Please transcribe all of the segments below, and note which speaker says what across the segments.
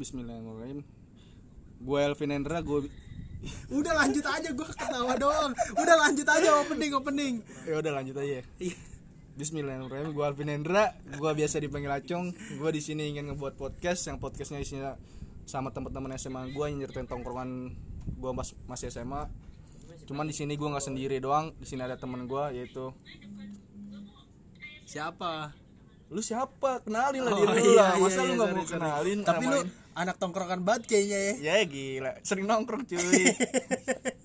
Speaker 1: Bismillahirrahmanirrahim. Gue Elvin Hendra, gue
Speaker 2: Udah lanjut aja gue ketawa doang. Udah lanjut aja opening opening.
Speaker 1: ya udah lanjut aja. ya.
Speaker 2: Iya.
Speaker 1: Bismillahirrahmanirrahim. Gue Alvin Hendra, gue biasa dipanggil Acong. Gue di sini ingin ngebuat podcast yang podcastnya isinya sama teman-teman SMA gue yang nyeritain tongkrongan gue mas masih SMA. Cuman di sini gue nggak sendiri doang. Di sini ada teman gue yaitu
Speaker 2: Siapa?
Speaker 1: lu siapa kenalin lah
Speaker 2: Oh,
Speaker 1: diri lu
Speaker 2: iya,
Speaker 1: lah masa lu nggak
Speaker 2: iya, iya, sorry,
Speaker 1: mau
Speaker 2: sorry.
Speaker 1: kenalin
Speaker 2: Tapi lu
Speaker 1: namain?
Speaker 2: anak tongkrongan banget kayaknya ya.
Speaker 1: ya gila sering nongkrong cuy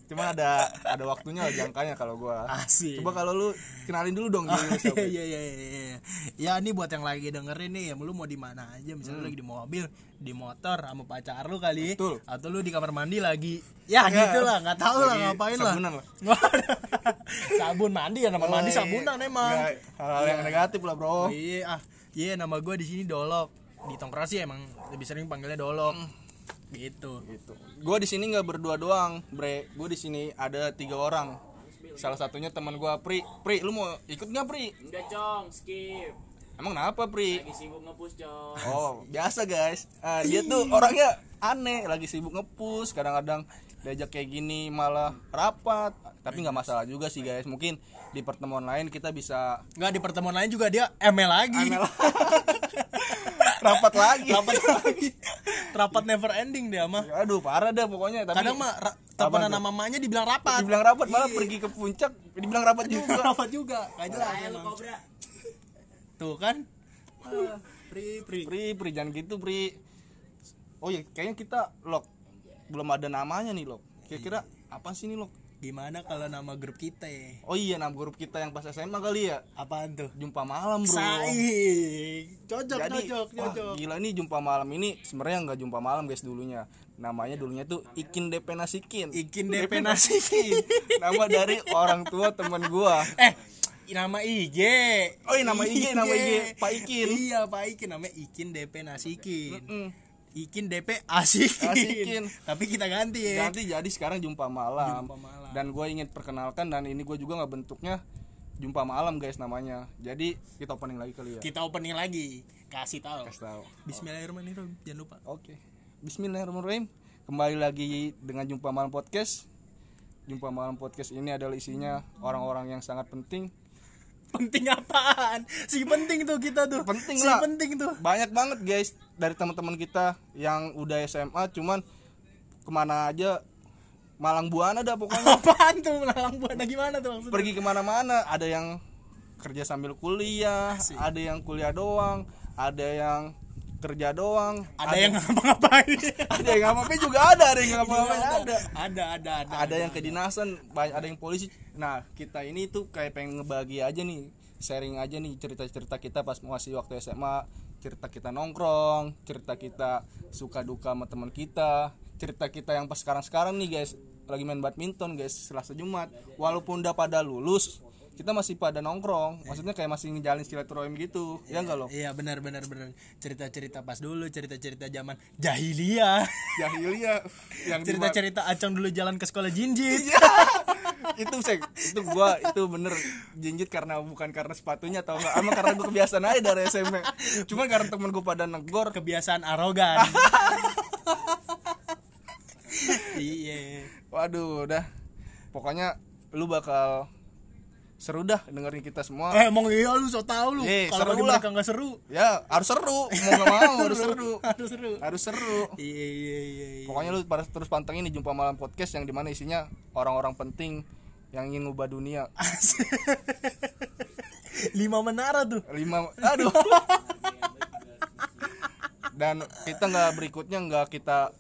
Speaker 1: cuma ada ada waktunya lah jangkanya kalau gua
Speaker 2: Asik.
Speaker 1: coba kalau lu kenalin dulu dong diri lu siapa.
Speaker 2: Iya iya iya iya, iya. Ya ini buat yang lagi dengerin nih, ya lu mau di mana aja, misalnya lu lagi di mobil, di motor sama pacar lu
Speaker 1: Hmm.
Speaker 2: kali,
Speaker 1: Betul.
Speaker 2: atau lu di kamar mandi lagi. Ya
Speaker 1: Ya.
Speaker 2: gitu lah, nggak tahu lah
Speaker 1: Lagi
Speaker 2: ngapain
Speaker 1: sabunan lah. Oh, iya,
Speaker 2: lah. sabun mandi ya nama mandi sabunan emang.
Speaker 1: Nggak, hal-hal yang negatif lah bro
Speaker 2: Oh, iya ah, iya nama gue di sini Dolok. Di tongkrong sih emang lebih sering panggilnya Dolok. Gitu.
Speaker 1: gitu gua di sini nggak berdua doang bre gua di sini ada tiga orang salah satunya teman gua Pri Pri lu mau ikut nggak Pri
Speaker 3: Udah cong, skip.
Speaker 1: emang kenapa Pri
Speaker 3: Lagi sibuk ngepus cong.
Speaker 1: oh biasa guys Ah, dia tuh orangnya aneh lagi sibuk ngepus kadang-kadang diajak kayak gini malah rapat tapi nggak masalah juga sih guys mungkin di pertemuan lain kita bisa
Speaker 2: Enggak di pertemuan lain juga dia ML lagi.
Speaker 1: Aneh lah. rapat lagi
Speaker 2: Rapat lagi. Rapat never ending dia mah.
Speaker 1: aduh parah dah pokoknya tapi
Speaker 2: Kadang mah ra- teleponan sama mamanya dibilang rapat.
Speaker 1: dibilang rapat malah pergi ke puncak dibilang rapat juga
Speaker 2: rapat juga. Enggak jelas
Speaker 3: Ayo lu
Speaker 2: emang.
Speaker 3: kobra.
Speaker 2: Tuh kan. Ah, Pri pri.
Speaker 1: Pri, Pri jangan gitu Pri. Oh ya, kayaknya kita log belum ada namanya nih log. Kira-kira apa sih nih log?
Speaker 2: Gimana kalau nama grup kita ya?
Speaker 1: Oh iya, nama grup kita yang pas SMA kali ya.
Speaker 2: Apaan tuh?
Speaker 1: Jumpa malam bro.
Speaker 2: iya, Saing. Cocok,
Speaker 1: Jadi,
Speaker 2: cocok,
Speaker 1: wah,
Speaker 2: cocok.
Speaker 1: gila nih jumpa malam ini sebenarnya nggak jumpa malam guys dulunya. Namanya dulunya tuh Ikin DP Nasikin.
Speaker 2: Ikin DP
Speaker 1: kan
Speaker 2: Nasikin.
Speaker 1: Nama dari orang tua temen gua.
Speaker 2: eh nama IG
Speaker 1: Oh, iya, nama IG, nama IG. Pak Ikin.
Speaker 2: iya Pak Ikin namanya Ikin DP Nasikin
Speaker 1: Mm.
Speaker 2: Ikin DP Asikin.
Speaker 1: Asikin.
Speaker 2: tapi kita ganti ya
Speaker 1: Ganti jadi sekarang jumpa malam.
Speaker 2: Jumpa malam.
Speaker 1: Dan gue ingin perkenalkan dan ini gue juga nggak bentuknya jumpa malam guys namanya. Jadi kita opening lagi kali ya.
Speaker 2: kita opening lagi kasih tahu
Speaker 1: Kasih tahu.
Speaker 2: Bismillahirrahmanirrahim jangan lupa
Speaker 1: Oke. Bismillahirrahmanirrahim. Kembali lagi dengan jumpa malam podcast. Jumpa malam podcast ini adalah isinya orang-orang yang sangat penting.
Speaker 2: penting apaan si penting tuh kita tuh
Speaker 1: Penting
Speaker 2: si
Speaker 1: lah.
Speaker 2: penting tuh
Speaker 1: Banyak banget guys dari teman-teman kita yang udah SMA cuman kemana aja Malang Buana dah pokoknya.
Speaker 2: apaan tuh melalang buana gimana tuh maksudnya
Speaker 1: pergi kemana-mana ada yang kerja sambil kuliah
Speaker 2: Asik.
Speaker 1: ada yang kuliah doang ada yang kerja doang
Speaker 2: ada, yang ngapa-ngapain
Speaker 1: ada yang ngapain juga ada ada yang ngapain ada
Speaker 2: Iya, ada ada ada
Speaker 1: Nah, ada yang kedinasan ba- ada yang polisi nah kita ini tuh kayak pengen ngebagi aja nih sharing aja nih cerita-cerita kita pas masih waktu SMA cerita kita nongkrong cerita kita suka duka sama teman kita cerita kita yang pas sekarang-sekarang nih guys lagi main badminton guys Selasa Jumat walaupun udah pada lulus kita masih pada nongkrong maksudnya kayak masih ngejalin silaturahim gitu ya enggak loh
Speaker 2: Iya benar benar benar cerita-cerita pas dulu cerita-cerita zaman jahiliyah
Speaker 1: jahiliyah Ya, yang di-
Speaker 2: cerita-cerita acong dulu jalan ke sekolah jinjit
Speaker 1: Iya. itu sek itu gua itu bener jinjit karena bukan karena sepatunya atau enggak ama karena gua kebiasaan aja dari SMP cuman karena temen gua pada negor
Speaker 2: kebiasaan arogan iya
Speaker 1: waduh udah pokoknya lu bakal seru dah dengerin kita semua
Speaker 2: eh emang iya lu so tau lu
Speaker 1: Eh, Oh. seru
Speaker 2: kalau bagi
Speaker 1: lah.
Speaker 2: mereka nggak seru
Speaker 1: ya harus seru mau gak mau harus seru
Speaker 2: harus seru
Speaker 1: harus seru
Speaker 2: iya iya iya iya.
Speaker 1: pokoknya lu pada terus pantengin di jumpa malam podcast yang dimana isinya orang-orang penting yang ingin ngubah dunia
Speaker 2: lima menara tuh
Speaker 1: lima aduh dan kita nggak berikutnya nggak kita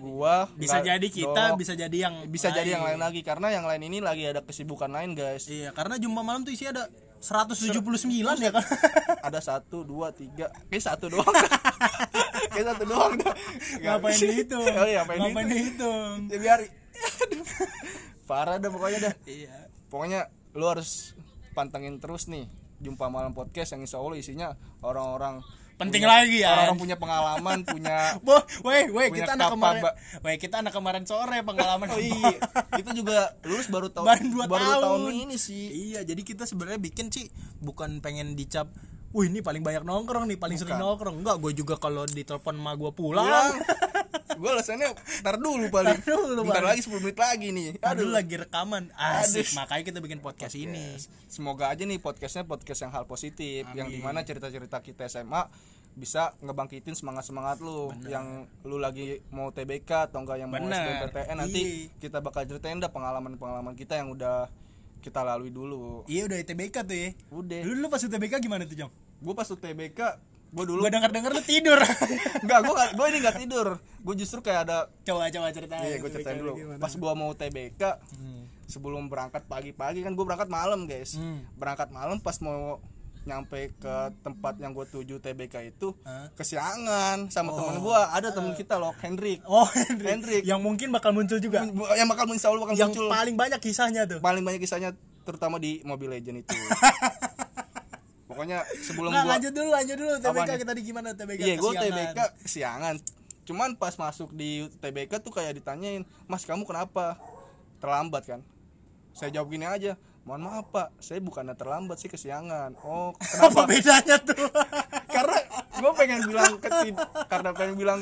Speaker 1: gua
Speaker 2: bisa
Speaker 1: nggak
Speaker 2: jadi kita
Speaker 1: Dok,
Speaker 2: bisa jadi yang
Speaker 1: bisa jadi yang lain lagi karena yang lain ini lagi ada kesibukan lain guys
Speaker 2: iya karena jumpa malam tuh isinya ada 179 ya kan
Speaker 1: ada satu dua tiga kayak satu doang kayak satu doang dah. Nggak-
Speaker 2: ngapain dihitung
Speaker 1: oh iya ngapain,
Speaker 2: ngapain
Speaker 1: dihitung?
Speaker 2: dihitung
Speaker 1: ya biar Aduh. parah dah pokoknya dah
Speaker 2: iya
Speaker 1: pokoknya lu harus pantengin terus nih jumpa malam podcast yang insya Allah isinya orang-orang
Speaker 2: Penting
Speaker 1: punya-
Speaker 2: lagi, ya.
Speaker 1: orang-orang punya pengalaman punya
Speaker 2: Boh, weh, weh,
Speaker 1: Punya
Speaker 2: kita anak
Speaker 1: kapal,
Speaker 2: kemarin,
Speaker 1: Mbak.
Speaker 2: weh, kita anak kemarin sore pengalaman.
Speaker 1: oh iya itu juga lulus baru tahun
Speaker 2: Baru dua
Speaker 1: baru
Speaker 2: tahun.
Speaker 1: ini sih
Speaker 2: Iya, jadi kita sebenarnya bikin sih bukan pengen dicap Wih ini paling banyak nongkrong nih paling sering
Speaker 1: Bukan. Iya.
Speaker 2: nongkrong Enggak gue juga kalau ditelepon ma gue pulang
Speaker 1: gue alasannya ntar dulu paling
Speaker 2: Ntar dulu,
Speaker 1: ntar
Speaker 2: paling.
Speaker 1: lagi 10 menit lagi nih
Speaker 2: Aduh lagi rekaman Asik
Speaker 1: Aduh.
Speaker 2: makanya kita bikin podcast ini
Speaker 1: semoga aja nih podcastnya podcast yang hal positif yang dimana cerita-cerita kita SMA bisa ngebangkitin semangat-semangat lu yang lu lagi mau TBK atau enggak yang mau
Speaker 2: Bener.
Speaker 1: SBMPTN nanti
Speaker 2: Iya.
Speaker 1: kita bakal ceritain dah pengalaman-pengalaman kita yang udah kita lalui dulu
Speaker 2: Iya udah ITBK tuh ya
Speaker 1: udah
Speaker 2: Dulu lu pas ITBK gimana tuh Jong?
Speaker 1: gue pas tuh TBK gue dulu
Speaker 2: Gue denger-denger lu tidur
Speaker 1: Enggak, gue gue ini nggak tidur gue justru kayak ada
Speaker 2: Coba coba ceritain
Speaker 1: Iya, gue
Speaker 2: ITBK
Speaker 1: ceritain
Speaker 2: lu
Speaker 1: dulu.
Speaker 2: gimana.
Speaker 1: Pas gua mau TBK, sebelum berangkat pagi-pagi kan gue berangkat malam, guys.
Speaker 2: Hmm.
Speaker 1: Berangkat malam pas mau nyampe ke tempat yang gue tuju TBK itu
Speaker 2: Hah?
Speaker 1: kesiangan sama temen gua ada temen kita loh Hendrik
Speaker 2: Oh Hendrik.
Speaker 1: Hendrik.
Speaker 2: Yang mungkin bakal muncul juga
Speaker 1: yang bakal insya Allah bakal
Speaker 2: Yang
Speaker 1: muncul
Speaker 2: paling banyak kisahnya tuh
Speaker 1: paling banyak kisahnya terutama di Mobile Legend itu pokoknya sebelum
Speaker 2: Nggak,
Speaker 1: gua
Speaker 2: lanjut dulu lanjut dulu TBK
Speaker 1: Apanya?
Speaker 2: kita di gimana TBK
Speaker 1: Iya, gue
Speaker 2: kesiangan.
Speaker 1: TBK siangan. Cuman pas masuk di TBK tuh kayak ditanyain, "Mas, kamu kenapa?" Terlambat kan? Saya jawab gini aja, "Mohon maaf, Pak. Saya bukannya terlambat sih kesiangan." Oh,
Speaker 2: Apa
Speaker 1: kenapa?
Speaker 2: bedanya tuh?
Speaker 1: karena gue pengen bilang ketid karena pengen bilang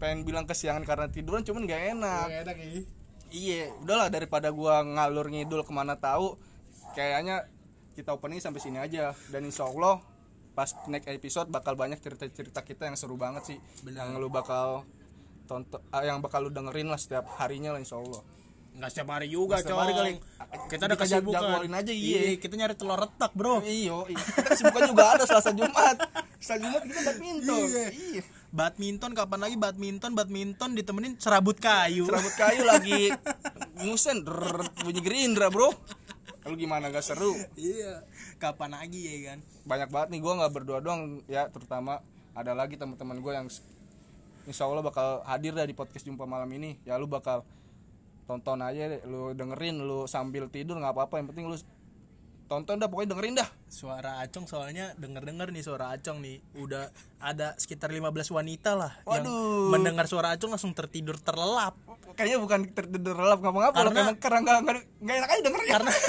Speaker 1: pengen bilang kesiangan karena tiduran cuman gak enak.
Speaker 2: Nggak enak ya
Speaker 1: Iya, udahlah daripada gua ngalur ngidul kemana tahu, kayaknya kita opening sampai sini aja. Dan insya Allah pas next episode bakal banyak cerita-cerita kita yang seru banget sih, yang lu bakal tonton, ah, yang bakal lu dengerin lah setiap harinya lah insya Allah.
Speaker 2: Nggak setiap hari juga,
Speaker 1: Nggak setiap hari
Speaker 2: Cong.
Speaker 1: kali.
Speaker 2: Kita ada
Speaker 1: Kita jag-
Speaker 2: kesibukan.
Speaker 1: jadwalin aja, iya.
Speaker 2: kita nyari telur retak, Bro.
Speaker 1: Iyo, iya. kita kesibukan juga ada Selasa Jumat, Selasa Jumat kita badminton.
Speaker 2: Iya.
Speaker 1: Iya.
Speaker 2: Badminton kapan lagi badminton, badminton ditemenin serabut kayu.
Speaker 1: Serabut kayu lagi ngusen drrrr, bunyi gerindra bro. Lu gimana gak seru?
Speaker 2: Iya. Kapan lagi ya kan?
Speaker 1: banyak banget nih gue nggak berdua doang ya terutama ada lagi teman-teman gue yang s- insya Allah bakal hadir dah di podcast jumpa malam ini ya lu bakal tonton aja deh, lu dengerin lu sambil tidur nggak apa-apa yang penting lu s- tonton dah pokoknya dengerin dah
Speaker 2: Suara Acong soalnya denger-denger nih suara Acong nih udah ada sekitar 15 wanita lah
Speaker 1: Waduh.
Speaker 2: yang mendengar suara Acong langsung tertidur terlelap.
Speaker 1: kayaknya bukan terdengar lelap ngapa-ngapa
Speaker 2: Karena-
Speaker 1: karena karena nggak nggak- nggak enak aja dengerin karena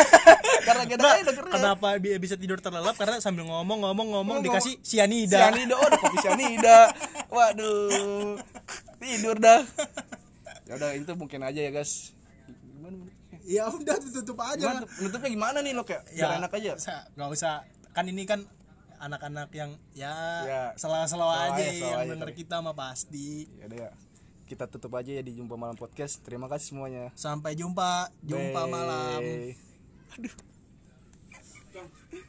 Speaker 1: karena gak enak
Speaker 2: Nggak,
Speaker 1: aja dengerin
Speaker 2: kenapa bi- bisa tidur terlelap? Karena sambil ngomong-ngomong-ngomong
Speaker 1: Ngomong.
Speaker 2: dikasih
Speaker 1: si
Speaker 2: sianida.
Speaker 1: Anida oh ada kopi si Anida waduh tidur dah ya udah itu mungkin aja ya guys gimana menurutnya?
Speaker 2: Ya udah tutup
Speaker 1: Gimana tuh? Menutupnya gimana nih lo kayak biar enak aja.
Speaker 2: sa- Ya, nggak usah kan ini kan anak-anak yang ya,
Speaker 1: Ya.
Speaker 2: selawa-selawa
Speaker 1: Selawa
Speaker 2: aja
Speaker 1: aja, selawa
Speaker 2: yang
Speaker 1: aja,
Speaker 2: denger
Speaker 1: tapi.
Speaker 2: kita mah pasti
Speaker 1: Ya udah ya. Kita tutup aja ya di jumpa malam podcast. Terima kasih semuanya.
Speaker 2: sampai jumpa jumpa malam
Speaker 1: Bye.